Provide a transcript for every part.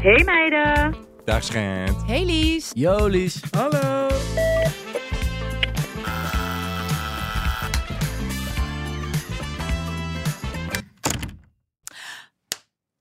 Hey meiden. Dag schijnt. Oh Hey Lies. Jolies. Hallo.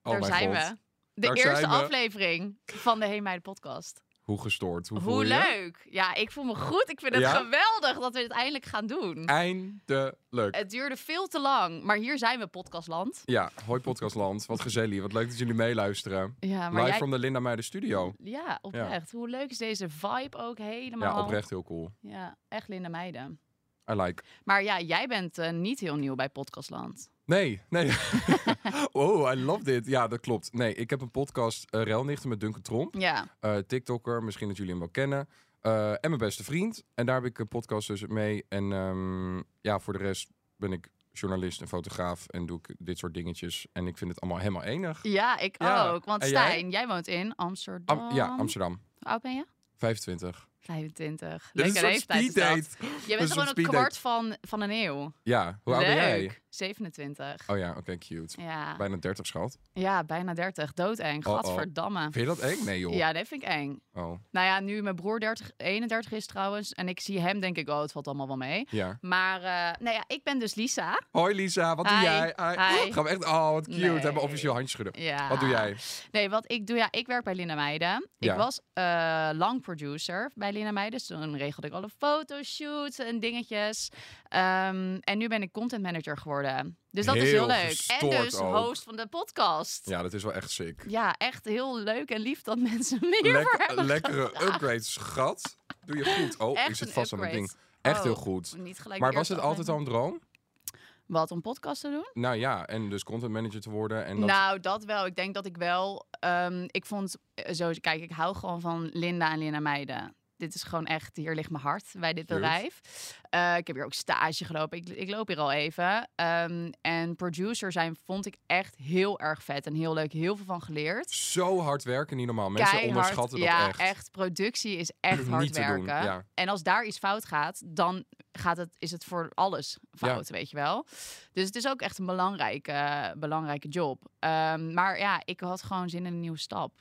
Oh Daar mijn zijn god. we. De Daar eerste zijn we. aflevering van de Hey Meiden podcast. Hoe gestoord. Hoe, Hoe, voel je? leuk. Ja, ik voel me goed. Ik vind het Ja? Eh. geweldig dat we dit eindelijk gaan doen. Eindelijk. Het duurde veel te lang, maar hier zijn we, podcastland. Ja, hoi podcastland. Wat gezellig. Wat leuk dat jullie meeluisteren. Ja, maar Live jij... from de Linda Meijer Studio. Ja, oprecht. Hoe leuk is deze vibe ook helemaal. Ja, oprecht heel cool. Ja, echt Linda Meiden. I like. Maar ja, jij bent eh, niet heel nieuw bij podcastland. Nee, nee. oh, I love dit. Ja, dat klopt. Nee, ik heb een podcast eh Relnichten met Duncan Tromp. Ja, eh, TikToker, misschien dat jullie hem wel kennen. Eh, en mijn beste vriend. En daar heb ik een podcast dus mee. En ehm, ja, voor de rest ben ik journalist en fotograaf en doe ik dit soort dingetjes. En ik vind het allemaal helemaal enig. ja ik Ja. ook. Want En jij? Stijn, jij? woont in Amsterdam. Am- ja, Amsterdam. Hoe oud ben je? 25. 25. Dit is Leuke een soort leeftijd is dat. speeddate. Je Dat is bent Dus een gewoon soort een speeddate. kwart van, van een eeuw. Ja, hoe oud ben jij? Leuk. 27. Oh ja, oké, cute. Ja. Bijna 30, schat. ja, bijna 30. Doodeng. Oh, oh. Gadverdamme. Vind je dat eng? Nee, joh. Ja, dat vind ik eng. Oh, Nou ja, nu mijn broer 30, 31 is trouwens. En ik zie hem, denk ik, oh, het valt allemaal wel mee. ja. Maar, eh, nou ja, ik ben dus Lisa. Hoi Lisa, wat doe Hi. jij? Hi. Hi. Gaan we echt... Oh, wat cute. Nee. Hebben we officieel handjes schudden. Ja. Wat doe jij? Nee, wat ik doe, ja, ik werk bij Lina Meijden. Ja. Ik was eh, lang producer bij Lina Meijden. Dus toen regelde ik alle fotoshoots en dingetjes. Ehm, en nu ben ik content manager geworden. Dus dat is Heel heel leuk. En gestoord dus ook. host van de podcast. Ja. Ja, dat is wel echt sick. echt. echt heel leuk en lief dat mensen meer voor Lek- hebben lekkere upgrade, schat. Doe je goed. Oh, Echt ik zit een vast aan het upgrade. ding. Echt Oh, heel goed. Niet gelijk Maar de was eerste het altijd al een droom? aflevering. Wat, om podcast te doen? Nou ja, en dus content manager te worden. En dat... Nou, dat wel. Ik denk dat ik wel... ehm, ik vond... eh, Zo, kijk, ik hou gewoon van Linda en Linda Meijden. Dit is gewoon echt... Hier ligt mijn hart bij dit Cute. bedrijf. Eh, ik heb hier ook stage gelopen. Ik, ik loop hier al even. Ehm, en producer zijn vond ik echt heel erg vet. En heel leuk. Heel veel van geleerd. Zo hard werken, niet normaal. Mensen Keihard. onderschatten dat ja, echt. Productie is echt Niet hard te doen, werken. ja. En als daar iets fout gaat, dan gaat het, is het voor alles fout, weet je wel. Dus het is ook echt een belangrijke, belangrijke job. Ehm, maar ja, ik had gewoon zin in een nieuwe stap.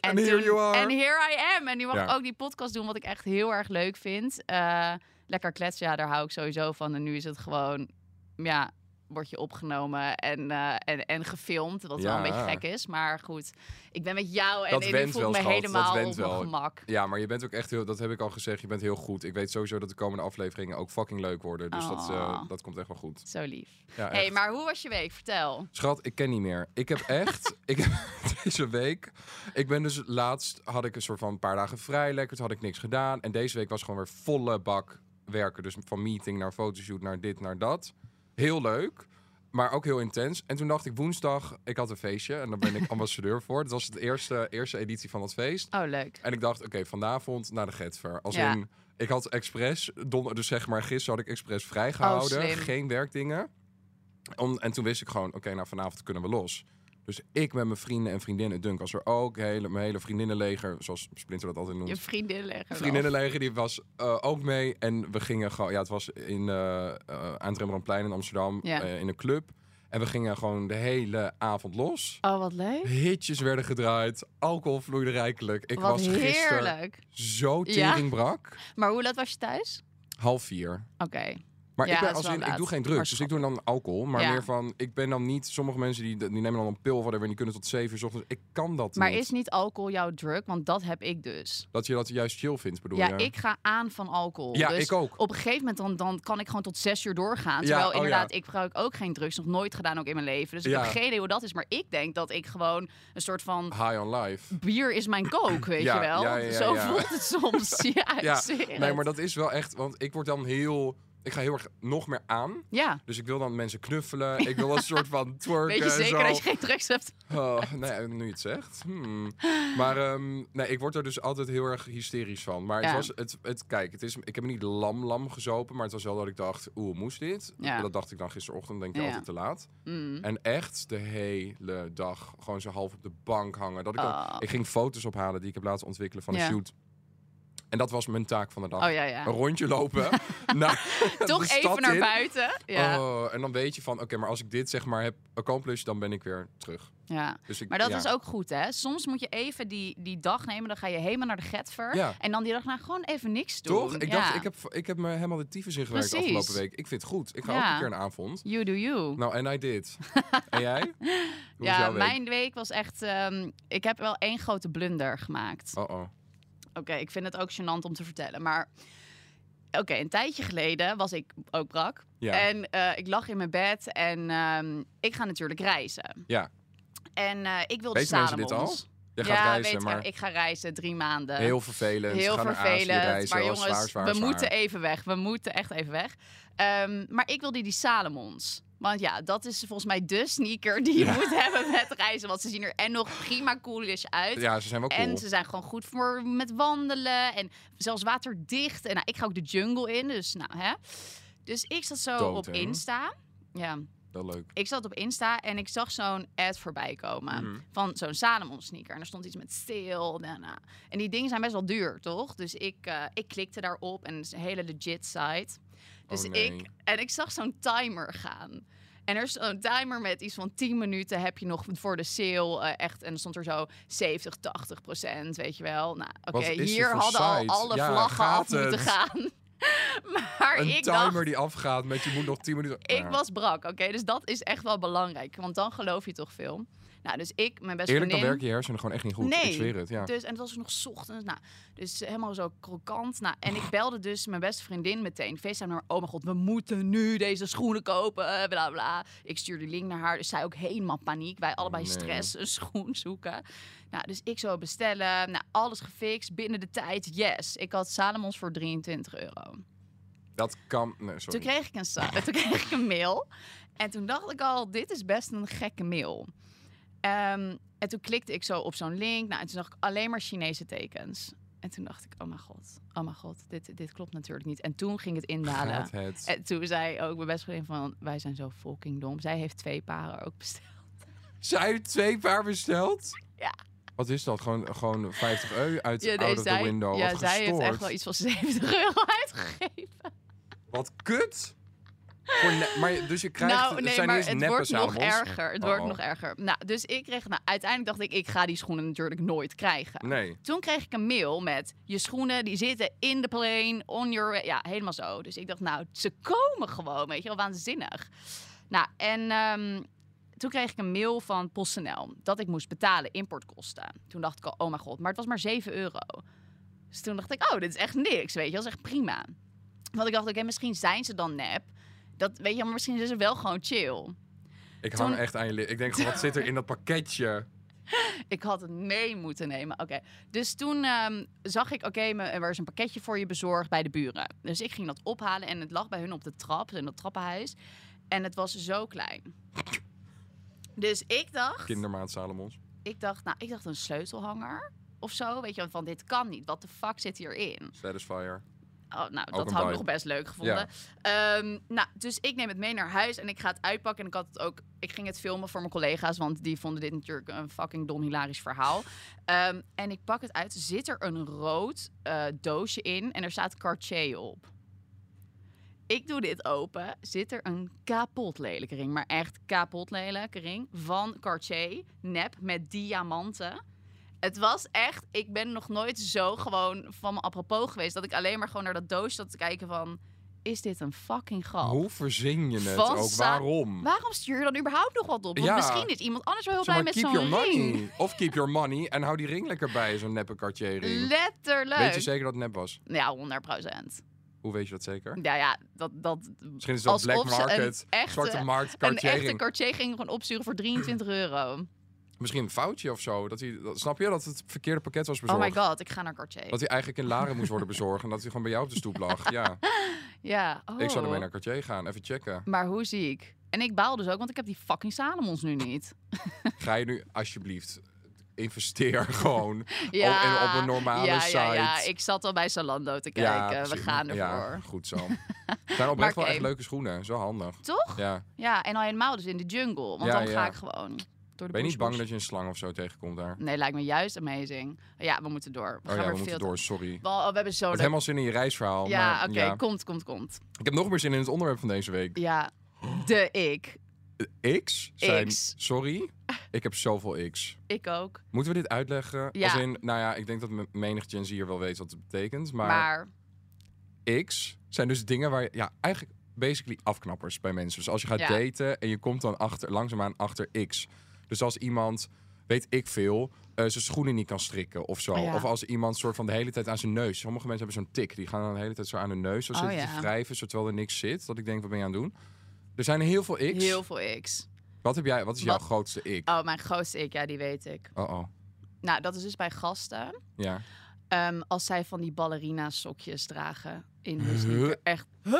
And here you are. En here I am. En nu mag Ja. ik ook die podcast doen, wat ik echt heel erg leuk vind. Eh, lekker kletsen, ja, daar hou ik sowieso van. En nu is het gewoon, ja, word je opgenomen en, eh, en, en gefilmd. Wat wel een Ja. beetje gek is, maar goed. Ik ben met jou en Dat ik went voel wel, me schat. Dat helemaal went op mijn wel. gemak. Ja, maar je bent ook echt heel... Dat heb ik al gezegd. Je bent heel goed. Ik weet sowieso dat de komende afleveringen ook fucking leuk worden. Dus dat, eh, Oh. dat komt echt wel goed. Zo lief. Ja, hey, echt. maar hoe was je week? Vertel. Schat, ik ken niet meer. Ik heb echt, ik heb deze week, ik ben dus laatst had ik een soort van een paar dagen vrij, lekker, toen had ik niks gedaan. En deze week was gewoon weer volle bak werken. Dus van meeting naar fotoshoot, naar dit, naar dat. Heel leuk, maar ook heel intens. En toen dacht ik woensdag, ik had een feestje en daar ben ik ambassadeur voor. Dat was de eerste, eerste editie van dat feest. Oh, leuk. En ik dacht, oké, vanavond naar de Getver. Als Ja. in, ik had expres, don- dus zeg maar gisteren had ik expres vrijgehouden. Oh, slim. geen werkdingen. Om, en toen wist ik gewoon, oké, nou vanavond kunnen we los. Dus ik met mijn vrienden en vriendinnen, Dunk was er ook. Hele, mijn hele vriendinnenleger, zoals Splinter dat altijd noemt. Je vriendin leggen. Vriendinnenleger, die was eh, ook mee. En we gingen gewoon, ja, het was in, eh, eh, aan het Rembrandtplein in Amsterdam, Ja. eh, in een club. En we gingen gewoon de hele avond los. Oh, wat leuk. Hitjes werden gedraaid, alcohol vloeide rijkelijk. Ik wat was gisteren heerlijk. zo Ja. teringbrak. Maar hoe laat was je thuis? Half vier. Oké. Maar Ja, ik, ben dat is als wel in, ik doe laat. geen drugs, Maar dus ik doe dan alcohol. Maar Ja. meer van, ik ben dan niet... Sommige mensen die, die nemen dan een pil of whatever... en die kunnen tot zeven uur 's ochtends. Ik kan dat Maar niet. is niet alcohol jouw druk? Want dat heb ik dus. Dat je dat juist chill vindt, bedoel Ja, je? ik ga aan van alcohol. Ja, dus ik ook. Op een gegeven moment dan, dan kan ik gewoon tot zes uur doorgaan. Ja, Terwijl oh ja. inderdaad, ik gebruik ook geen drugs. Nog nooit gedaan ook in mijn leven. Dus ik Ja. heb geen idee hoe dat is. Maar ik denk dat ik gewoon een soort van... High on life. Bier is mijn kook, weet Ja, je wel? ja, ja, ja, Zo ja. voelt het soms. Ja, ik Ja, zweer Nee, het. maar dat is wel echt... Want ik word dan heel... Ik ga heel erg nog meer aan. Ja, Dus ik eh, wil dan mensen knuffelen. Ik wil een soort van twerken weet je en zeker zo. dat je geen drugs hebt? Oh, nee, nu je het zegt. Hmm. Maar ehm, nee, ik word er dus altijd heel erg hysterisch van. Maar het Ja. was, het, het, kijk, het is, ik heb me niet lam-lam gezopen, maar het was wel dat ik dacht, oeh, moest dit? Ja. Dat dacht ik dan gisterochtend, denk ik Ja. altijd te laat. Mm. En echt de hele dag gewoon zo half op de bank hangen. Dat ik, dan- Oh. ik ging foto's ophalen die ik heb laten ontwikkelen van een Ja. shoot. En dat was mijn taak van de dag. Oh ja, ja. Een rondje lopen. naar de Toch stad even naar in. buiten. Ja. Oh, en dan weet je van, oké, maar als ik dit zeg maar heb accomplished, dan ben ik weer terug. ja. Dus ik, Maar dat ja. is ook goed, hè? Soms moet je even die, die dag nemen. Dan ga je helemaal naar de getver. Ja. En dan die dag na gewoon even niks doen. Toch? Ik Ja. dacht, ik heb, ik heb me helemaal de tyfus ingewerkt Precies. afgelopen week. Ik vind het goed. Ik ga ook Ja. een keer een avond. You do you. Nou, en I did. en jij? Hoe was ja, jouw week? mijn week was echt... ehm, ik heb wel één grote blunder gemaakt. Oh, oh. Oké, ik vind het ook gênant om te vertellen, maar... Oké, een tijdje geleden was ik ook brak. Ja. En eh, ik lag in mijn bed en ehm, ik ga natuurlijk reizen. Ja. En eh, ik wilde Weten mensen dit Salomons. Jij gaat ja, reizen, weet ik, maar ik ga reizen drie maanden. heel vervelend. Heel Ze gaan naar Azië vervelend. reizen. maar Oh, jongens, zwaar, zwaar, we zwaar. moeten even weg. We moeten echt even weg. Ehm, maar ik wilde die Salomons. Want ja, dat is volgens mij de sneaker die je Ja. moet hebben met reizen. Want ze zien er en nog prima coolish uit. Ja, ze zijn wel cool. En ze zijn gewoon goed voor met wandelen en zelfs waterdicht. En nou, ik ga ook de jungle in, dus nou hè. Dus ik zat zo Dood, op hè? Insta. Ja, Wel leuk. ik zat op Insta en ik zag zo'n ad voorbij komen Mhm. van zo'n Salomon sneaker. En er stond iets met sale. na, na. En die dingen zijn best wel duur, toch? Dus ik, eh, ik klikte daarop en het is een hele legit site. Dus Oh, nee. ik, en ik zag zo'n timer gaan. En er is zo'n timer met iets van 10 minuten heb je nog voor de sale eh, echt. En er stond er zo 70, 80 procent, weet je wel. Nou, oké, Wat is dit hier voor hadden al site? alle Ja, vlaggen gaat af moeten het? gaan. maar Een ik timer dacht, die afgaat met je moet nog 10 minuten... ik Ja. was brak, oké? Dus dat is echt wel belangrijk, want dan geloof je toch veel. Nou, dus ik, mijn beste Eerlijk, dan vriendin... werken je hersenen gewoon echt niet goed. Nee. Ik zweer het, ja. Dus, en het was nog 's ochtends. Nou, dus helemaal zo krokant. Nou, en ik belde dus mijn beste vriendin meteen. FaceTime naar haar. Oh mijn god, we moeten nu deze schoenen kopen. eh, Bla bla. Ik stuur die link naar haar. Dus zij ook helemaal paniek. Wij allebei Nee. stress. Een schoen zoeken. Nou, dus ik zo bestellen. Nou, alles gefixt. Binnen de tijd. Yes. Ik had Salomons voor 23 euro. Dat kan... Nee, Toen sorry. kreeg, ik een sa- toen kreeg ik een mail. En toen dacht ik al, dit is best een gekke mail. Ehm, en toen klikte ik zo op zo'n link. Nou, en toen zag ik alleen maar Chinese tekens. En toen dacht ik, oh mijn god, oh mijn god, dit, dit klopt natuurlijk niet. En toen ging het indalen. Gaat het. En toen zei ook mijn beste vriendin van, wij zijn zo fucking dom. Zij heeft twee paren ook besteld. Zij heeft twee paar besteld? Ja. Wat is dat? Gewoon, gewoon 50 eu uit Ja, nee, out of zij, the window. ja, Wat zij heeft echt gestoord. wel iets van 70 euro uitgegeven. Wat kut! Voor ne- maar je- dus je krijgt... nou, het nee, zijn maar ineens het neppe Oh, wordt nog sabels. erger. Het wordt Uh-oh. nog erger. Nou, dus ik kreeg, nou, uiteindelijk dacht ik, ik ga die schoenen natuurlijk nooit krijgen. Nee. Toen kreeg ik een mail met je schoenen die zitten in de plane, on your, ja, helemaal zo. Dus ik dacht, nou, ze komen gewoon, weet je wel, waanzinnig. Nou, en ehm, toen kreeg ik een mail van PostNL dat ik moest betalen importkosten. Toen dacht ik al, oh mijn god, maar het was maar 7 euro. Dus toen dacht ik, oh, dit is echt niks, weet je, dat is echt prima. Want ik dacht, oké, misschien zijn ze dan nep. Dat, weet je, maar misschien zijn ze wel gewoon chill. Ik hang Toen- echt aan je lip. Ik denk gewoon, wat zit er in dat pakketje? Ik had het mee moeten nemen. Oké. Dus toen ehm, zag ik, oké, me- er is een pakketje voor je bezorgd bij de buren. Dus ik ging dat ophalen en het lag bij hun op de trap, dus in dat trappenhuis. En het was zo klein. Dus ik dacht, Kindermaat Salomons. ik dacht, nou, ik dacht een sleutelhanger of zo. Weet je, want van dit kan niet. Wat de fuck zit hierin? Satisfier. Oh, nou, een dat had ik vibe. nog best leuk gevonden. Ehm, nou, dus ik neem het mee naar huis en ik ga het uitpakken. En ik had het ook, ik ging het filmen voor mijn collega's, want die vonden dit natuurlijk een fucking dom hilarisch verhaal. Ehm, en ik pak het uit, zit er een rood eh, doosje in en er staat Cartier op. Ik doe dit open, zit er een kapot lelijke ring, maar echt kapot lelijke ring van Cartier, nep met diamanten. Het was echt, ik ben nog nooit zo gewoon van mijn apropos geweest dat ik alleen maar gewoon naar dat doosje zat te kijken van, is dit een fucking grap? Hoe verzin je het Van ook? Sa- Waarom? Waarom stuur je dan überhaupt nog wat op? Want Ja. misschien is iemand anders wel heel Zeg blij maar, met keep your zo'n money. ring. Of keep your money en hou die ring lekker bij, zo'n neppe Cartier ring. Letterlijk. Weet je zeker dat het nep was? Ja, 100 procent. Hoe weet je dat zeker? Ja, ja, dat... dat Misschien is dat Alsof black ze een market, echte- zwarte markt een Cartier echte ring. Cartier ging gewoon opsturen voor 23 euro. Misschien een foutje of zo. Dat hij, dat, snap je dat het verkeerde pakket was Oh bezorgd? my god, ik ga naar Cartier. Dat hij eigenlijk in Laren moest worden bezorgd en dat hij gewoon bij jou op de stoep lag. Ja, Ja, oh. ik zou ermee naar Cartier gaan, even checken. Maar hoe zie ik? En ik baal dus ook, want ik heb die fucking Salomons nu niet. Oh, Ga je nu alsjeblieft investeer gewoon. Ja, en op een normale ja, Ja, ja, site. ik zat al bij Zalando te Ja, kijken. We precies. gaan ervoor. Ja, goed zo. Het zijn oprecht wel oké. echt leuke schoenen, zo handig. Toch? Ja, Ja, en al helemaal dus in de jungle. Want Ja, dan ga ja. ik gewoon door door de Ben je niet bush, bang bush. dat je een slang of zo tegenkomt daar? Nee, lijkt me juist amazing. Ja, we moeten door. We Oh Nou, gaan ja, weer we veel moeten te- door, sorry. Wel, oh, we hebben zo Het leuk- helemaal zin in je reisverhaal. Ja, maar oké, ja. komt, komt, komt. Ik heb nog meer zin in het onderwerp van deze week. Ja, de ik. Eh, X zijn... X. Sorry, ik heb zoveel X. Ik ook. Moeten we dit uitleggen? Ja. Als in, nou ja, ik denk dat me- menig Gen Z'er wel weet wat het betekent. Maar, Maar, X zijn dus dingen waar je... Ja, eigenlijk basically afknappers bij mensen. Dus als je gaat Ja. daten en je komt dan achter, langzaamaan achter X. Dus als iemand, weet ik veel, eh, zijn schoenen niet kan strikken of zo. Oh Ja. Of als iemand soort van de hele tijd aan zijn neus... Sommige mensen hebben zo'n tik. Die gaan dan de hele tijd zo aan hun neus. Zo Oh, zitten ja. te wrijven, zo terwijl er niks zit. Dat ik denk, wat ben je aan het doen? Er zijn heel veel X. heel veel X. Wat, heb jij, wat is Wat- jouw grootste ik? Oh, mijn grootste ik, ja, die weet ik. Oh-oh. Nou, dat is dus bij gasten. Ja. Ehm, als zij van die ballerina sokjes dragen in hun Huh? sneaker. Echt, huh?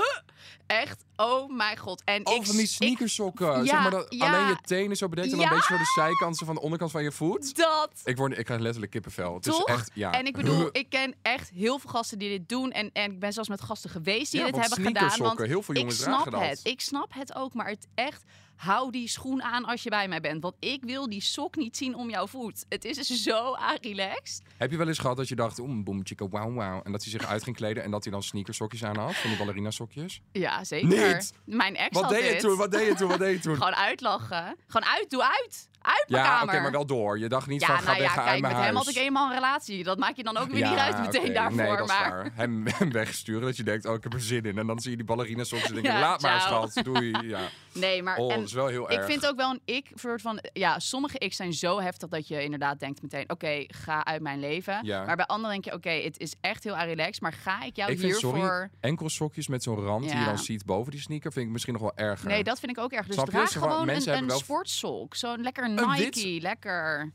echt, oh mijn god. En Oh, ik, van die ik- sneakersokken. zeg ja, maar dat ja. alleen je tenen zo bedekt en dan Ja. een beetje zo de zijkanten van de onderkant van je voet. dat. Ik, word, ik krijg letterlijk kippenvel. Het Toch? is echt, ja. En ik bedoel, ik ken echt heel veel gasten die dit doen. En, en ik ben zelfs met gasten geweest die Ja, dit want hebben gedaan. Want sneakersokken, heel veel ik jongens snap dragen het. dat. Ik snap het ook. Maar het echt, hou die schoen aan als je bij mij bent. Want ik wil die sok niet zien om jouw voet. Het is dus zo relaxed. Heb je wel eens gehad dat je dacht, oem, boem, chica, wauw, wauw. En dat hij zich uit ging kleden en dat hij dan sneakersokjes aan had, van die ballerina sokjes. Ja, zeker. Niet! Mijn ex Wat had deed je dit. toen? Wat deed je toen? Wat deed je toen? Gewoon uitlachen. Gewoon uit, doe uit. Uit mijn Ja, oké, kamer. maar wel door. Je dacht niet ja, van, ga nou weg, ja, ga kijk, uit met mijn hem huis. had ik eenmaal een relatie. Dat maakt je dan ook weer niet uit meteen oké. daarvoor. Nee, dat is maar waar. Hem, hem wegsturen, dat je denkt, oh, ik heb er zin in. En dan zie je die ballerina sokjes en denk je, Ja, laat maar, ciao. schat. Doei. Ja. nee, maar Oh, en- dat is wel heel erg. Ik vind ook wel een ik soort van ja, sommige ik zijn zo heftig dat je inderdaad denkt meteen oké, ga uit mijn leven. Ja. Maar bij anderen denk je oké, het is echt heel relaxed, maar ga ik jou Ik vind, hiervoor sorry, enkel sokjes met zo'n rand die Ja. je dan ziet boven die sneaker vind ik misschien nog wel erger. Nee, dat vind ik ook erg. Dus Snap je? draag Ze van- gewoon mensen een, een hebben wel- sportsok, zo'n lekker Een wit- Nike, lekker.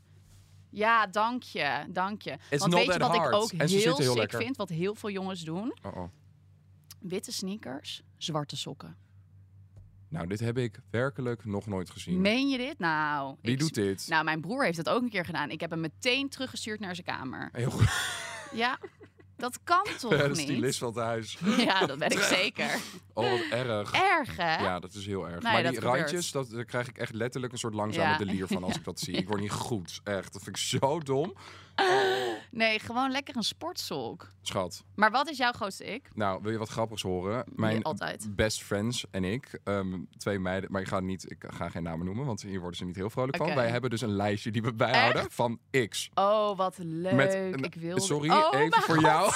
Ja, dank je, dank je. It's Want not weet je that wat hard. ik ook En ze heel zitten heel sick lekker. vind, wat heel veel jongens doen? Oh, oh. Witte sneakers, zwarte sokken. Nou, dit heb ik werkelijk nog nooit gezien. Meen je dit? Nou, Wie ik- doet dit? Nou, mijn broer heeft dat ook een keer gedaan. Ik heb hem meteen teruggestuurd naar zijn kamer. Heel goed. Ja, dat kan toch De niet? stylist van het huis. Ja, dat ben ik zeker. Oh, wat erg. Erg, hè? Ja, dat is heel erg. Nee, maar dat die gebeurt. randjes, dat, daar krijg ik echt letterlijk een soort langzame Ja. delier van als ik dat zie. Ik word niet goed, echt. Dat vind ik zo dom. Nee, gewoon lekker een sportsok. Schat, Maar wat is jouw grootste ik? nou, wil je wat grappigs horen? Mijn Nee, altijd. best friends en ik, ehm, twee meiden, maar ik ga, niet, ik ga geen namen noemen, want hier worden ze niet heel vrolijk Oké. van. Wij hebben dus een lijstje die we bijhouden van X. Oh, wat leuk. Met een- ik wilde... Sorry, oh, even mijn voor God. jou.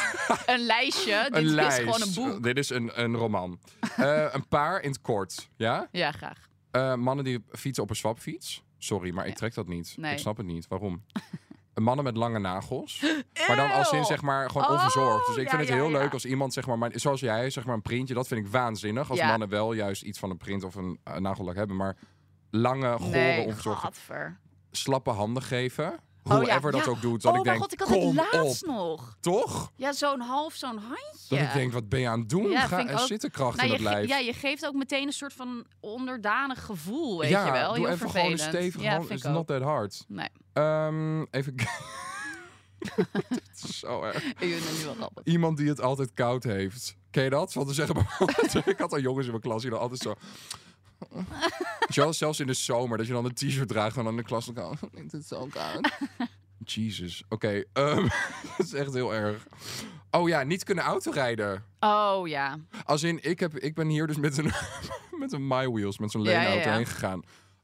Een lijstje. Dit een lijst. is gewoon een boek. Dit is een, een roman. Eh, een paar in het kort. Ja? Ja, graag. Eh, mannen die fietsen op een swapfiets. Sorry, maar ik trek dat niet. Nee. Ik snap het niet. Waarom? Mannen met lange nagels. Maar dan als in Eeuw. zeg maar gewoon Oh, onverzorgd. Dus ik ja, vind het ja, heel ja. leuk als iemand zeg maar, maar zoals jij, zeg maar een printje. Dat vind ik waanzinnig. Als Ja. mannen wel juist iets van een print of een eh, nagellak hebben. Maar lange, gore, Nee, onverzorgde, gadver. slappe handen geven. ja, Hoever dat ja. ook doet. Dat Oh ik mijn denk, god, ik had het kom op, laatst nog. toch? Ja, zo'n half, zo'n handje. Dat ik denk, wat ben je aan het doen? Ja, Ga vind ik er ook- zitten kracht nou, in je het ge- lijf. ja, je geeft ook meteen een soort van onderdanig gevoel, weet ja, je wel. doe Heel even vervelend. gewoon een stevig ja, hand. vind It's ik ook. not that hard. Nee, Ehm, even... k- Dit is zo erg. ik vind het nu wel grappig. Iemand die het altijd koud heeft. Ken je dat? Want dan zeggen bijvoorbeeld... ik had al jongens in mijn klas die dan altijd zo... Weet je wel, Zelfs in de zomer, dat je dan een t-shirt draagt en dan in de klas... Dan, het is zo koud. Jesus. Oké, ehm, dat is echt heel erg. Oh ja, niet kunnen autorijden. Oh ja. Als in, ik, heb, ik ben hier dus met een, met een My Wheels, met zo'n Ja, ja, leenauto ja. heen gegaan.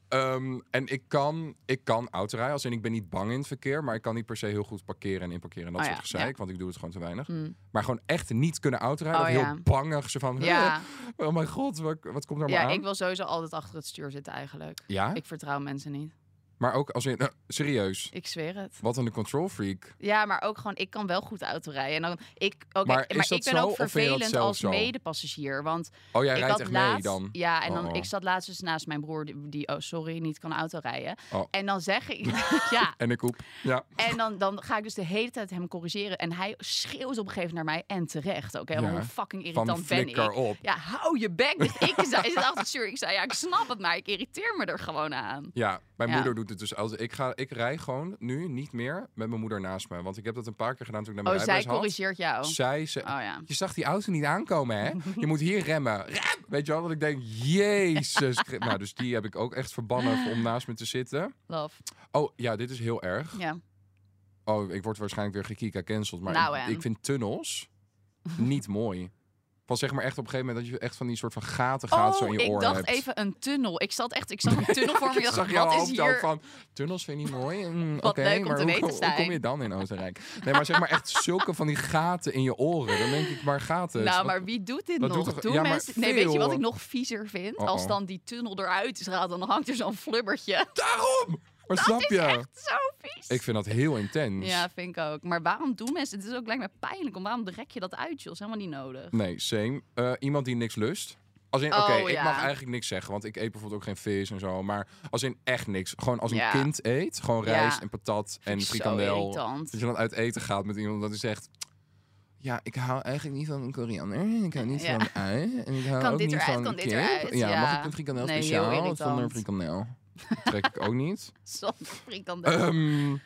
Ehm, en ik kan, ik kan autorijden. Als in, ik ben niet bang in het verkeer, maar ik kan niet per se heel goed parkeren en inparkeren en dat Oh ja, soort gezeik, want ik doe het gewoon te weinig. Mm. Maar gewoon echt niet kunnen autorijden. Oh of heel ja. bangig, zo van, Ja, oh mijn god, wat, wat komt daar maar ja aan? ik wil sowieso altijd achter het stuur zitten eigenlijk. Ja, Ik vertrouw mensen niet. maar ook als in, eh, serieus, Ik zweer het. wat een control freak. Ja, maar ook gewoon, ik kan wel goed autorijden. En dan, ik, oké, Maar maar is dat ik ben zo, ook of vind je dat vervelend zelf als zo? medepassagier. Want Oh, jij ik rijdt had echt mee laatst. dan? Ja, en dan, Oh, oh. ik zat laatst dus naast mijn broer, die, die, oh sorry, niet kan autorijden. Oh. En dan zeg ik, ja. En ik hoep. Ja. En dan, dan ga ik dus de hele tijd hem corrigeren. En hij schreeuwt op een gegeven moment naar mij. En terecht ook. Helemaal Ja. hoe fucking Van irritant ben ik. flikker op. Ja, hou je bek. Dus ik zei, is het achter het stuur. Ik zei, ja, ik snap het, maar ik irriteer me er gewoon aan. Ja, mijn Ja. moeder doet het dus. Als ik, ga, ik rij gewoon nu niet meer met mijn moeder naast me. Want ik heb dat een paar keer gedaan toen ik naar Oh, mijn zij rijbewijs corrigeert jou. had. Oh Zij, ze, ja. je zag die auto niet aankomen, hè? Je moet hier remmen. Rem! Weet je wel, dat ik denk, jezus. Christus. nou, dus die heb ik ook echt verbannen om naast me te zitten. Love. Oh, ja, dit is heel erg. Ja. Oh, ik word waarschijnlijk weer gekika cancelled. Maar Nou, ik, en? ik vind tunnels niet mooi. Van zeg maar echt op een gegeven moment dat je echt van die soort van gaten gaat zo in je Oh, ik oren dacht hebt. even een tunnel. Ik zat echt, ik zag een tunnel voor me. Ik Ik dacht, zag jouw wat is hoofd ook hier? van, tunnels vind je niet mooi? Mm, Oké, Wat leuk om maar te hoe, weten hoe zijn. kom je dan in Oostenrijk? Nee, maar zeg maar echt zulke van die gaten in je oren. Dan denk ik, maar gaten. Nou, maar wie doet dit dat nog? doet toch- Doen ja, maar mensen... Nee, weet je wat veel- ik nog viezer vind? Oh, Als oh. dan die tunnel eruit is gehaald, dan hangt er zo'n flubbertje. Daarom! Maar Dat snap is je? echt zo vies. Ik vind dat heel intens. Ja, vind ik ook. Maar waarom doen mensen... Het is ook lijkt me pijnlijk. Om waarom rek je dat uit, joh? Is helemaal niet nodig. Nee, same. Eh, iemand die niks lust. Als in, oké, Oh, ik ja. mag eigenlijk niks zeggen, want ik eet bijvoorbeeld ook geen vis en zo. Maar als in echt niks. Gewoon als een Ja. kind eet, gewoon Ja. rijst en patat en Vind ik Zo frikandel. irritant. Dat je dan uit eten gaat met iemand dat die zegt... Ja, ik hou eigenlijk niet van koriander. Ik hou niet Ja. van ui. En ik hou Kan ook dit niet eruit? van Kan dit kip. eruit? Ja, Ja. mag ik een frikandel Nee, heel speciaal zonder irritant. frikandel? Dat trek ik ook niet. Zonder frikandel. Ehm,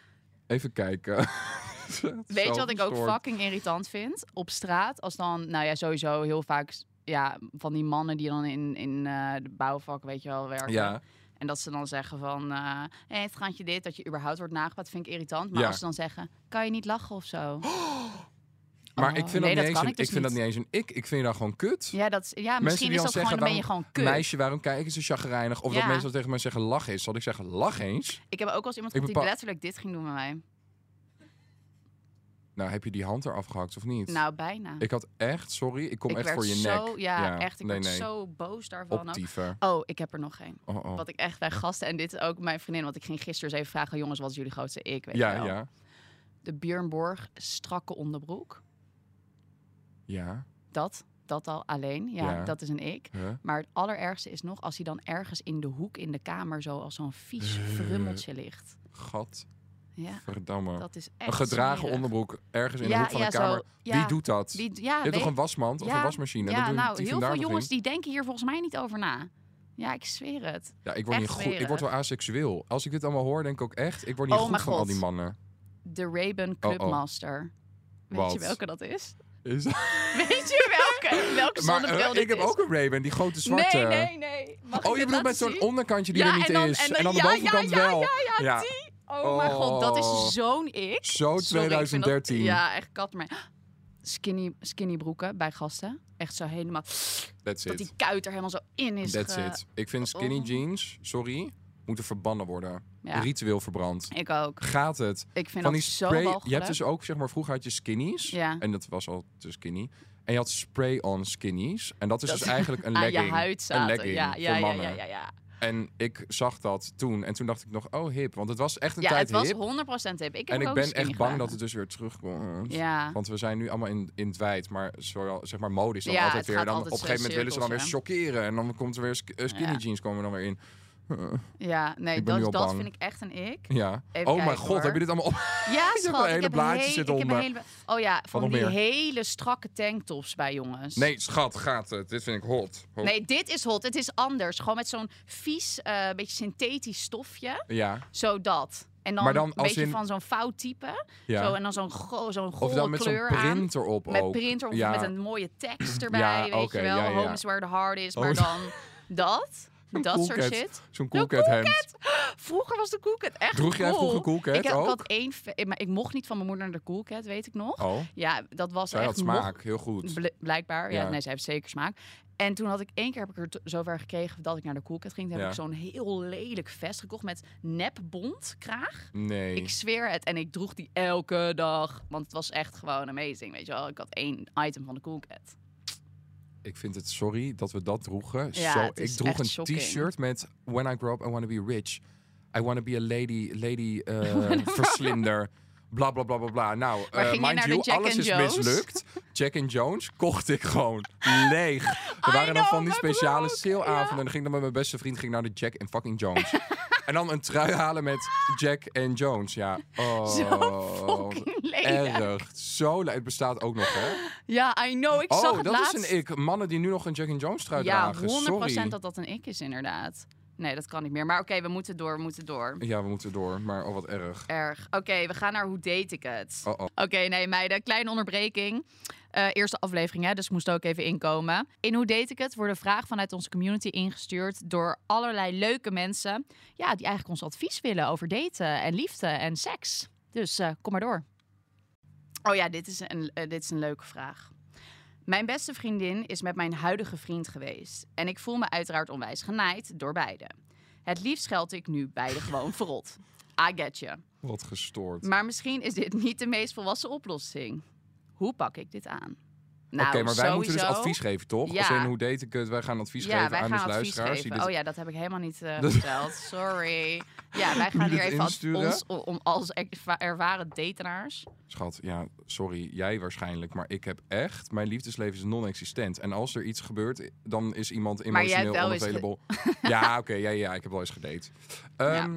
even kijken. Weet je Zo wat ik ook gestoord. fucking irritant vind? Op straat, als dan, nou ja, sowieso heel vaak ja, van die mannen die dan in, in eh, de bouwvak, weet je wel, werken. Ja, En dat ze dan zeggen van, eh hey, schandje dit, dat je überhaupt wordt nagepraat, vind ik irritant. Maar Ja. als ze dan zeggen, kan je niet lachen of zo? maar Oh, ik vind, nee, dat, dat niet kan eens een, ik dus ik vind dat niet. niet eens een ik. Ik vind dat gewoon kut. Ja, dat, is- ja Mensen misschien die is dan dat gewoon, zeggen, dan ben je waarom- gewoon kut. Meisje, waarom kijken ze chagrijnig? Of dat Ja. mensen tegen mij zeggen, lach eens. Zal ik zeggen, lach eens? Ik heb ook wel eens iemand Ik gehad die bepaal- letterlijk dit ging doen met mij. Nou, heb je die hand eraf gehakt of niet? Nou, bijna. Ik had echt, sorry, ik kom Ik echt werd voor je zo, nek. Ja, echt. Ik nee, werd nee. zo boos daarvan. ook. Optieven. Oh, ik heb er nog geen. Oh, oh. Wat ik echt bij gasten, en dit is ook mijn vriendin, want ik ging gisteren eens even vragen: "Oh, jongens, wat is jullie grootste ik? Weet je Ja, wel. ja, De Björnborg strakke onderbroek. ja. Dat, dat al alleen. Ja, Ja. dat is een ik. Huh? Maar het allerergste is nog als hij dan ergens in de hoek in de kamer zo als zo'n vies Eh. verrummeltje ligt. Ja, Gadverdamme. dat is echt. Oh. een gedragen smerig. onderbroek ergens in de Ja, hoek van ja, de zo. kamer. Ja. Wie doet dat? Die, ja, je hebt weet- toch een wasmand of Ja, een wasmachine? ja Dat doen nou, die heel vandaag veel nog jongens niet? die denken hier volgens mij niet over na. Ja, ik zweer het. Ja, ik word, echt niet goed. ik word wel smerig. asexueel. Als ik dit allemaal hoor, denk ik ook echt... Ik word niet Oh, goed mijn van al God. die mannen. De Raven Clubmaster. Weet je Oh, Wat? welke dat is? Is dat- Weet je welke? Welk Maar zonnebril eh, dit ik heb is? ook een Raven, die grote zwarte. Nee, nee, nee. Mag ik Oh, je dit bedoelt laten met zo'n zien? onderkantje die Ja, er niet en dan- is. en dan- de ja, ja, bovenkant ja, wel. ja, ja. Die? Oh, mijn god, Oh. dat is zo'n ik. Zo Sorry, ik vind dat- 2013. ja, echt kat maar. Skinny, skinny broeken bij gasten. Echt zo helemaal. That's Dat die it. kuit er helemaal zo in is. That's ge- it. Ik vind skinny Oh. jeans, sorry, moeten verbannen worden. Ja. Ritueel verbrand. Ik ook. Gaat het? Ik vind Van die dat zo spray. walgelijk. Je hebt dus ook, zeg maar, vroeger had je skinnies. Ja. En dat was al te skinny. En je had spray-on skinnies. En dat is Dat- dus eigenlijk een aan legging. je huid een zaten. legging ja, ja, voor ja, mannen. ja, ja, ja. En ik zag dat toen. En toen dacht ik nog, oh hip. Want het was echt een Ja, het tijd was hip. 100% hip. Ik heb en ik ook ben een skinny echt bang gedaan. dat het dus weer terugkomt. Ja. Want we zijn nu allemaal in, in het wijd, maar zowel, zeg maar mode is dan Ja, altijd het weer. gaat Dan altijd op een gegeven zo moment willen ze dan weer cirkels, shockeren en dan komt er weer sk- eh, skinny Ja. jeans komen dan weer in. Ja, nee, Ik ben nu al dat, dat bang. vind ik echt een ik. Ja. Even oh mijn kijken, god, hoor. heb je dit allemaal op? Ja, Ik heb schat. een hele ik heb blaadje heel- zitten ik heb onder. een hele bla- Oh ja, van nog die meer? hele strakke tanktops bij jongens. Nee, schat, gaat het. Dit vind ik hot. Hot. Nee, dit is hot. Het is anders. Gewoon met zo'n vies, eh, beetje synthetisch stofje. Ja. Zo dat. En dan, Maar dan een als beetje in- van zo'n fout type. ja. Zo, en dan zo'n go zo'n of golle dan met zo'n kleur aan. print erop Met ook. printer of ja. met een mooie tekst erbij. weet oké, je wel. ja, ja, ja. Homes where the heart is. Maar Oh, dan dat. Dat cool soort cat. shit. Zo'n De coolcat hemd. Vroeger was de Coolcat echt Droeg jij cool. vroeger Coolcat ik, heb- ook? ik had één... fe- Maar ik mocht niet van mijn moeder naar de Coolcat, weet ik nog. Oh, Ja, dat was zij had echt nog smaak. Heel goed. Bl- blijkbaar. Ja, Ja. nee, zij heeft zeker smaak. En toen had ik één keer heb ik er t- zover gekregen dat ik naar de Coolcat ging. Toen heb Ja. ik zo'n heel lelijk vest gekocht met nepbont kraag. Nee. Ik zweer het. En ik droeg die elke dag. Want het was echt gewoon amazing. Weet je wel, ik had één item van de Coolcat. Ik vind het sorry dat we dat droegen. Ja, Zo, het ik is droeg echt een shocking. t-shirt met When I grow up I want to be rich. I want to be a lady, lady eh, verslinder. Bla bla bla bla bla. Nou, Maar eh, ging je mind naar de you, Jack alles and is Jones? mislukt. Jack and Jones kocht ik gewoon leeg. Er I waren dan know, van die mijn speciale broek, saleavonden. ja. En dan ging ik dan met mijn beste vriend ging ik naar de Jack and fucking Jones. en dan een trui halen met Jack and Jones. Ja, oh. Zo fucking lelijk. Erg. Zo, le- het bestaat ook nog, hè? Ja, I know. Ik Oh, zag het dat laatst. is een ik. Mannen die nu nog een Jack and Jones trui Ja, 100% dragen. Sorry. dat dat een ik is inderdaad. Nee, dat kan niet meer. Maar oké, we moeten door, we moeten door. Ja, we moeten door, maar oh wat erg. Erg. Oké, we gaan naar hoe date ik het. Oh, oh. Oké, nee meiden, kleine onderbreking. Eh, eerste aflevering, hè, dus moest ook even inkomen. In Hoe Deed Ik Het worden vragen vanuit onze community ingestuurd door allerlei leuke mensen. Ja, die eigenlijk ons advies willen over daten en liefde en seks. Dus eh, kom maar door. Oh ja, dit is, een, eh, dit is een leuke vraag. Mijn beste vriendin is met mijn huidige vriend geweest. En ik voel me uiteraard onwijs genaaid door beiden. Het liefst scheld ik nu beide gewoon verrot. I get you. Wat gestoord. Maar misschien is dit niet de meest volwassen oplossing. Hoe pak ik dit aan? Nou, Oké, maar wij moeten dus sowieso- advies geven, toch? Ja. Als in hoe date ik het, wij gaan advies ja, geven wij aan gaan onze advies luisteraars. geven. die dit- Oh ja, dat heb ik helemaal niet eh, Dat- verteld. Sorry. Ja, wij dit gaan hier even ad- insturen? ons o- om als erva- ervaren datenaars. Schat, ja, sorry, jij waarschijnlijk, maar ik heb echt... Mijn liefdesleven is non-existent. En als er iets gebeurt, dan is iemand jij hebt emotioneel wel eens ge- unavailable. Ja, oké, ja, ja, ik heb wel eens gedate. Ehm,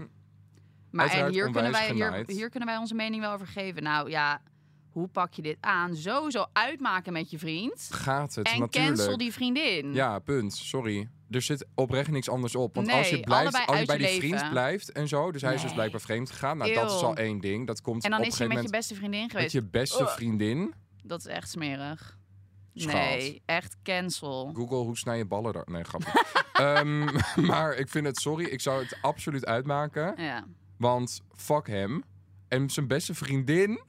Maar en Uiteraard hier kunnen, onwijs wij, hier, genaaid. hier kunnen wij onze mening wel over geven. Nou ja, hoe pak je dit aan? Sowieso uitmaken met je vriend. Gaat het, en natuurlijk. cancel die vriendin. Ja, punt. Sorry. Er zit oprecht niks anders op. Want als je, Nee, blijft, allebei als je uit bij je die leven. vriend blijft en zo... Dus hij is dus Nee. blijkbaar vreemd gegaan. Nou, dat is Eeuw. al één ding. Dat komt En dan op is een gegeven hij met je moment beste vriendin met geweest. je beste Ugh. vriendin. Dat is echt smerig. Schat. Nee, echt cancel. Google, hoe snij je ballen daar? Nee, grapje. Ehm, maar ik vind het, sorry, ik zou het absoluut uitmaken. Ja. Want fuck hem. En zijn beste vriendin,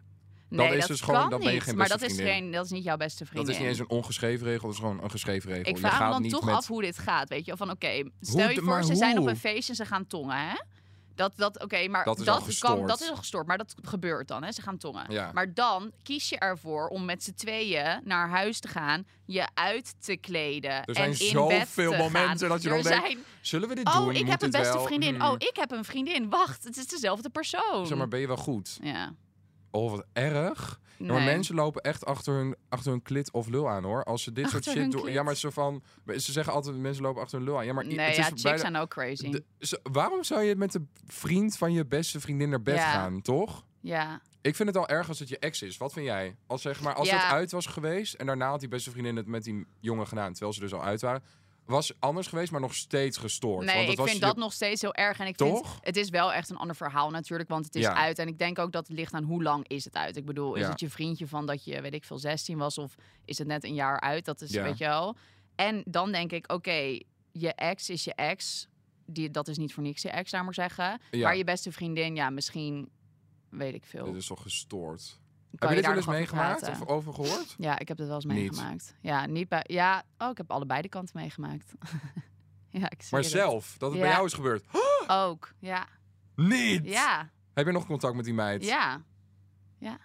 Nee, is dat dus gewoon- kan dan ben je niet. geen maar beste dat is, vriendin. geen, dat is niet jouw beste vriendin. dat is niet eens een ongeschreven regel, dat is gewoon een geschreven regel. Ik Je vraag me gaat dan niet toch met... af hoe dit gaat, weet je. Of van, oké, stel Hoe je de- voor, maar ze zijn op hoe? een feestje en ze gaan tongen, hè. Dat, dat, oké, maar Dat is al kan, gestoord. dat is al gestoord, maar dat gebeurt dan, hè. Ze gaan tongen. Ja. Maar dan kies je ervoor om met z'n tweeën naar huis te gaan, je uit te kleden Er zijn en in bed zoveel te momenten gaan. dat je er dan denkt, zijn- Zullen we dit doen? Oh, ik Moet heb een dit beste wel? vriendin. Hmm. Oh, ik heb een vriendin. Wacht, het is dezelfde persoon. Zeg maar, ben je wel goed? Ja. Oh, wat erg. Ja, maar Nee. mensen lopen echt achter hun, achter hun klit of lul aan, hoor. Als ze dit Achter soort shit hun doen... Ja, klit? maar zo van... Ze zeggen altijd, mensen lopen achter hun lul aan. Ja, maar i- Nee, het ja, is chicks bijna- zijn ook crazy. De- zo- waarom zou je met de vriend van je beste vriendin naar bed Ja. gaan, toch? Ja. Ik vind het al erg als het je ex is. Wat vind jij? Als zeg maar, als Ja. het uit was geweest en daarna had die beste vriendin het met die jongen gedaan, terwijl ze dus al uit waren, was anders geweest, maar nog steeds gestoord. Nee, Want het ik was vind je- dat nog steeds heel erg. En ik Toch? vind, het is wel echt een ander verhaal natuurlijk, want het is Ja. uit. En ik denk ook dat het ligt aan hoe lang is het uit. Ik bedoel, is Ja. het je vriendje van dat je, weet ik veel, 16 was? Of is het net een jaar uit? Dat is, Ja. weet je wel. En dan denk ik, oké, je ex is je ex. Die, dat is niet voor niks je ex, laat maar zeggen. Ja. Maar je beste vriendin, ja, misschien, weet ik veel. Dit is toch gestoord. heb Kan je dit daar wel eens nog over meegemaakt of praten? over gehoord? Ja, ik heb dat wel eens Niet. meegemaakt. Ja, niet bij, ja, oh, ik heb allebei de kanten meegemaakt. ja, ik zie Maar het. zelf, dat het bij Ja. jou is gebeurd. Ook, ja. Niet! Ja, Heb je nog contact met die meid? ja. Ja.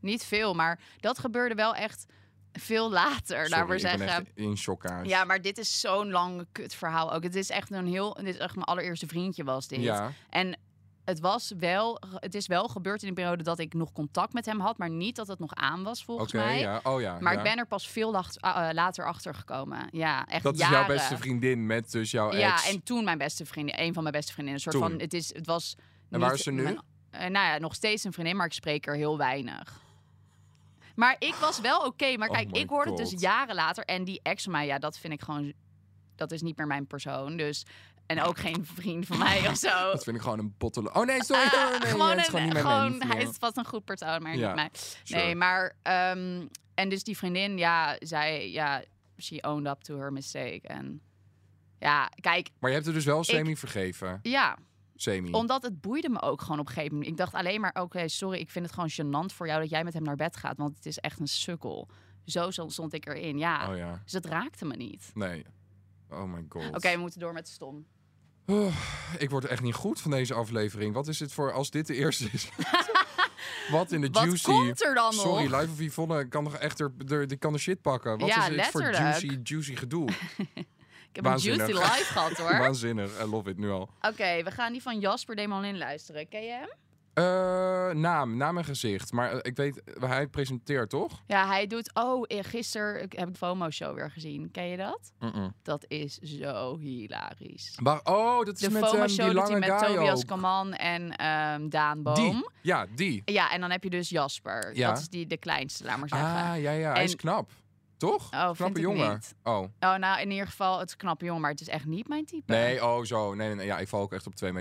Niet veel, maar dat gebeurde wel echt veel later, Sorry, laten we ik ben zeggen. echt in chockaars. Ja, maar dit is zo'n lang kut verhaal ook. Het is echt een heel... Dit is echt mijn allereerste vriendje was dit. Ja, En het, was wel, het is wel gebeurd in de periode dat ik nog contact met hem had, maar niet dat het nog aan was oké, volgens mij. ja. Oh ja. Maar ja. ik ben er pas veel lacht- ah, eh, later achter gekomen. Ja, echt Dat is jaren. jouw beste vriendin met dus jouw ex. Ja, en toen mijn beste vriendin, een van mijn beste vriendinnen. Een soort Toen. van, het, is, het was. En waar niet is ze nu? mijn- eh, nou ja, nog steeds een vriendin, maar ik spreek er heel weinig. Maar ik was wel oké. maar Oh kijk, my ik hoorde het God. dus jaren later. En die ex van mij, ja, dat vind ik gewoon. Dat is niet meer mijn persoon. Dus. En ook geen vriend van mij of zo. Dat vind ik gewoon een bottele. Oh nee, sorry. Ah, oh, nee, gewoon het is een- gewoon niet mijn gewoon- mens, Hij ja. is vast een goed persoon, maar Ja, niet mij. sure. Nee, maar... ehm, en dus die vriendin, ja, zij... Ja, she owned up to her mistake. En ja, kijk, Maar je hebt het dus wel semi vergeven. ja. Semi. Omdat het boeide me ook gewoon op een gegeven moment. Ik dacht alleen maar, oké, sorry, ik vind het gewoon gênant voor jou dat jij met hem naar bed gaat. Want het is echt een sukkel. Zo zo stond ik erin, ja. Oh ja. Dus het raakte me niet. Nee. Oh my god. Oké, we moeten door met stom. Ik word er echt niet goed van deze aflevering. Wat is dit voor als dit de eerste is? Wat in de Wat juicy. komt er dan nog? Sorry, Life of Yvonne kan nog echt er, er- die kan de shit pakken. Wat Ja, is dit voor letterlijk. juicy, juicy gedoe? Ik heb Waanzinnig. een juicy life gehad, hoor. Oké, Waanzinnig. I love it nu al. we gaan die van Jasper Demonin luisteren. Ken je hem? Eh, naam, naam en gezicht. Maar eh, ik weet, eh, hij presenteert toch? Ja, hij doet. Oh, eh, gisteren heb ik de FOMO Show weer gezien. Ken je dat? Mm-mm. Dat is zo hilarisch. Maar, oh, dat is De met FOMO ehm, Show die doet hij lange met guy Tobias ook. Kaman en ehm Daan Boom. Die. Ja, die. Ja, en dan heb je dus Jasper. Ja. Dat is die, de kleinste, laat maar zeggen. Ah, ja, ja. Hij En- is knap. Toch? Oh, vind Knappe ik jongen. niet. Oh. Oh, nou, in ieder geval, het is een knappe jongen, maar het is echt niet mijn type. Nee, oh zo. Nee, nee, nee. Ja, ik val ook echt op 2,16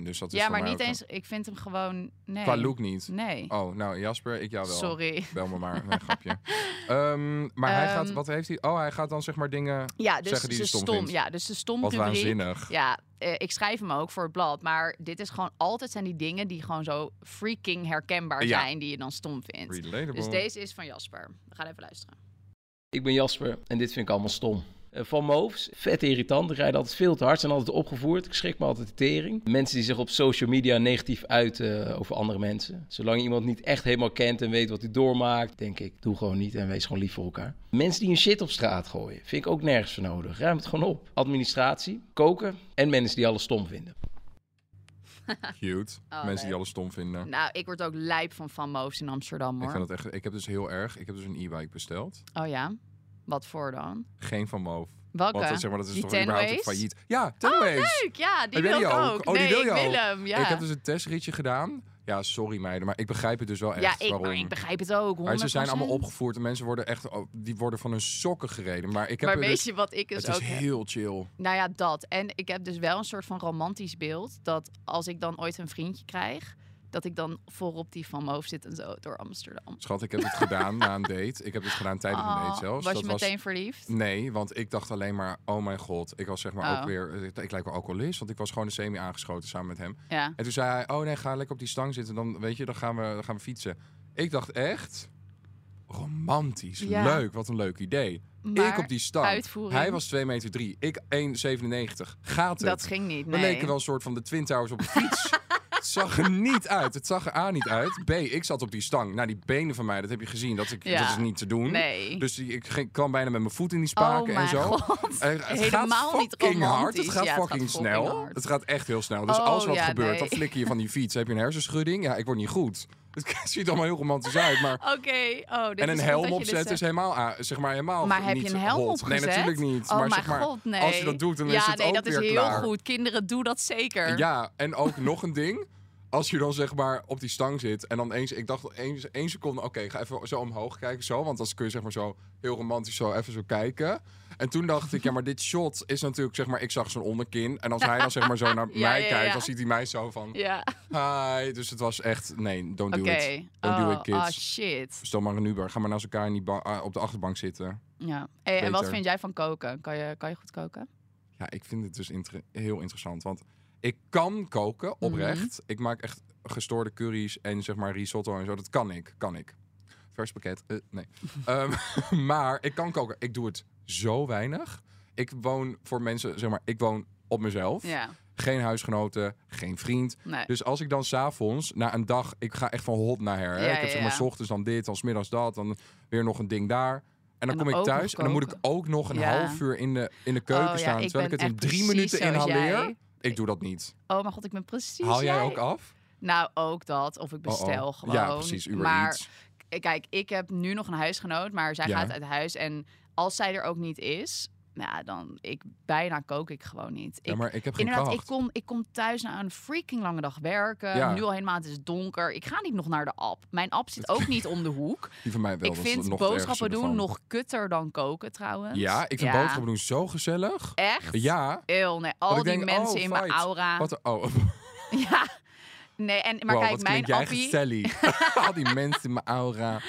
meter. dus dat is ja, voor maar mij niet ook eens. Ik vind hem gewoon. Nee. een- Qua look niet. Nee. Oh, nou Jasper, ik jou wel. Sorry. Bel me maar, een grapje. Ehm, maar hij gaat, Ehm. wat heeft hij? Oh, hij gaat dan zeg maar dingen. Ja, dus Zeggen de die je stom stom. vindt. ja, dus de stom Wat rubriek. waanzinnig. Ja, eh, ik schrijf hem ook voor het blad. Maar dit is gewoon altijd zijn die dingen die gewoon zo freaking herkenbaar Ja. zijn, die je dan stom vindt. Relatable. Dus deze is van Jasper. We gaan even luisteren. Ik ben Jasper en dit vind ik allemaal stom. Eh, Van mijn hoofd, vet irritant. Ik rijd altijd veel te hard, zijn altijd opgevoerd. Ik schrik me altijd de tering. Mensen die zich op social media negatief uiten eh, over andere mensen. Zolang je iemand niet echt helemaal kent en weet wat hij doormaakt, denk ik, doe gewoon niet en wees gewoon lief voor elkaar. Mensen die een shit op straat gooien, vind ik ook nergens voor nodig. Ruim het gewoon op. Administratie, koken en mensen die alles stom vinden. Cute. Oh, Mensen leuk. die alles stom vinden. Nou, ik word ook lijp van Van Moofs in Amsterdam Ik hoor. vind dat echt. Ik heb dus heel erg. Ik heb dus een e-bike besteld. Oh ja? Wat voor dan? Geen van Moof. Welke? Want dat, zeg maar, dat is Die toch Ten überhaupt Ways? failliet. Ja, Tenways. Leuk, ja, die Oh, wil wil je ik die ook? ook. Oh, die nee, wil ik je wil ook? hem, ja. Ik heb dus een testritje gedaan. Ja, sorry meiden, maar ik begrijp het dus wel echt. ja, ik, waarom. maar ik begrijp het ook, 100%. Maar ze zijn allemaal opgevoerd en mensen worden echt, oh, die worden van hun sokken gereden. Maar ik heb Maar er weet dus, je wat ik dus het ook is heb? heel chill. Nou ja, dat. En ik heb dus wel een soort van romantisch beeld dat als ik dan ooit een vriendje krijg, dat ik dan voorop die van mijn hoofd zit en zo door Amsterdam. Schat, ik heb het gedaan na een date. Ik heb het gedaan tijdens een Oh, date zelfs. Was Dat je meteen verliefd? Nee, want ik dacht alleen maar, oh mijn god. Ik was zeg maar Oh. ook weer, eh, ik, ik lijk wel alcoholist, want ik was gewoon een semi aangeschoten samen met hem. Ja. En toen zei hij, oh nee, ga lekker op die stang zitten, dan weet je, dan gaan we, dan gaan we fietsen. Ik dacht echt, romantisch, Ja. leuk, wat een leuk idee. Maar ik op die stang. uitvoering? Hij was 2 meter 3, ik 1,97. Gaat het? dat ging niet. We Nee. leken wel een soort van de Twin Towers op een fiets. het zag er niet uit. Het zag er A niet uit. B, ik zat op die stang. Nou, die benen van mij, dat heb je gezien. Dat, ik, Ja. dat is niet te doen. Nee. Dus die- ik ging, kwam bijna met mijn voet in die oh spaken mijn en zo. god. Eh, het Helemaal gaat niet fucking hard. romantisch. Het gaat Ja, het fucking gaat fucking snel. hard. Het gaat echt heel snel. Dus Oh, als wat ja, gebeurt, dan nee. flikker je van die fiets. Heb je een hersenschudding? Ja, ik word niet goed. Het ziet allemaal heel romantisch uit, maar... Oké. Oh, dit En is een goed dat helm je dit opzetten zegt. is helemaal, ah, zeg maar, helemaal Maar heb niet je een helm hot. opgezet? Nee, natuurlijk niet. Oh maar mijn zeg maar, god, nee. als je dat doet, dan ja, is het nee, ook dat weer is heel klaar. goed. Kinderen, doe dat zeker. Ja, en ook nog een ding. Als je dan zeg maar op die stang zit en dan eens, ik dacht eens, één seconde, oké, ga even zo omhoog kijken, zo, want dan kun je zeg maar zo heel romantisch zo even zo kijken. En toen dacht ik, ja, maar dit shot is natuurlijk zeg maar, ik zag zijn onderkin en als hij dan zeg maar zo naar Ja, mij ja, kijkt, ja. dan ziet hij mij zo van, Ja. hi, dus het was echt, nee, don't Oké. do it. Don't do Oh, it, kids. oh, shit. Stel maar een Uber, ga maar naast elkaar in die ba- ah, op de achterbank zitten. Ja. Hey, en wat Beter. vind jij van koken? Kan je, kan je goed koken? Ja, ik vind het dus inter- heel interessant. Want ik kan koken, oprecht. Ik maak echt gestoorde curry's en zeg maar risotto en zo. Dat kan ik, kan ik. Vers pakket, eh, nee. Ehm, maar ik kan koken. Ik doe het zo weinig. Ik woon voor mensen, zeg maar, ik woon op mezelf. Ja. Geen huisgenoten, geen vriend. Nee. Dus als ik dan s'avonds, na een dag, ik ga echt van hot naar her. hè. Ja, ik heb ja, zeg maar ja. 's ochtends dan dit, dan 's middags dat, dan weer nog een ding daar. En dan En kom ook ik nog thuis en dan moet ik ook nog een Ja. half uur in de, in de keuken Oh, ja, staan. ik terwijl ik ben het in echt drie precies minuten zoals inhaleer. jij. Ik doe dat niet. Oh mijn god, ik ben precies Haal jij ook af? Nou, ook dat. Of ik Oh, oh. bestel gewoon. Ja, precies. Uber maar Eats. k- kijk, ik heb nu nog een huisgenoot, maar zij Ja. gaat uit huis. En als zij er ook niet is, nou, dan ik, bijna kook ik gewoon niet. Ja, Ik- maar ik heb geen Inderdaad, kracht. ik kom, ik kom thuis na een freaking lange dag werken. Ja. Nu al helemaal, het is donker. Ik ga niet nog naar de app. Mijn app zit ook niet om de hoek. Die van mij wel. ik dat is vind nog het ergste boodschappen doen ervan. nog kutter dan koken trouwens. Ja, ik vind boodschappen doen zo gezellig. Echt? Ja. Eeuw, nee. Al dat die ik denk, mensen oh, in mijn vibes. aura. Wat een- oh, Ja. Nee, en, maar wow, kijk, wat mijn klink jij appie... gestellig. Al die mensen in mijn aura.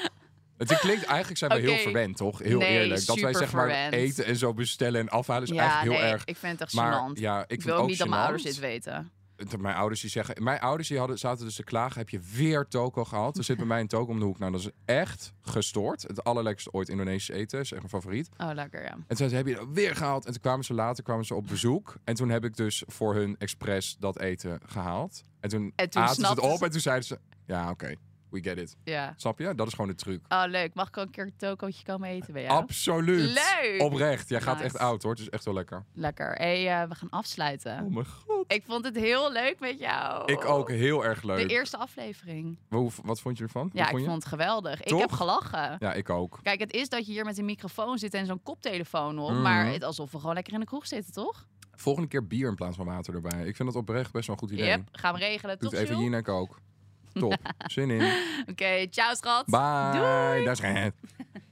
Het klinkt, eigenlijk zijn we Oké. heel verwend, toch? Heel Nee, eerlijk. Dat wij super zeg maar verwend. eten en zo bestellen en afhalen is ja, dus eigenlijk heel nee, erg. ik vind het echt Maar gênant. ja, ik, ik vind wil het ook ook niet dat mijn gênant. ouders dit weten. Dat Mijn ouders die zeggen, mijn ouders die hadden, zaten dus te klagen, heb je weer toko gehad? Er zit bij mij een toko om de hoek. Nou, dat is echt gestoord. Het allerlekkerste ooit Indonesisch eten, is echt mijn favoriet. Oh, lekker, ja. En toen zei ze, heb je dat weer gehaald? En toen kwamen ze later kwamen ze op bezoek. En toen heb ik dus voor hun expres dat eten gehaald. En toen, En toen aten ze het snapten op ze- en toen zeiden ze, ja oké, we get it. ja. Snap je? Dat is gewoon de truc. Oh, leuk. Mag ik ook een keer een tokootje komen eten bij jou? Absoluut. Leuk. Oprecht. Jij gaat Nice. echt oud hoor. Het is echt wel lekker. Lekker. Hé, hey, eh, we gaan afsluiten. Oh mijn god. Ik vond het heel leuk met jou. Ik ook heel erg Oh. De leuk. eerste aflevering. Hoe- Wat vond je ervan? Hoe Ja, ik je? vond het geweldig. Toch? Ik heb gelachen. Ja, ik ook. Kijk, het is dat je hier met een microfoon zit en zo'n koptelefoon op. Mhm. Maar het alsof we gewoon lekker in de kroeg zitten, toch? Volgende keer bier in plaats van water erbij. Ik vind dat oprecht best wel een goed idee. Yep, gaan we regelen. Doet Toch, even Jules? Jinek ook. Top. Zin in. Oké, ciao schat. Bye. Doei. Daar is geen.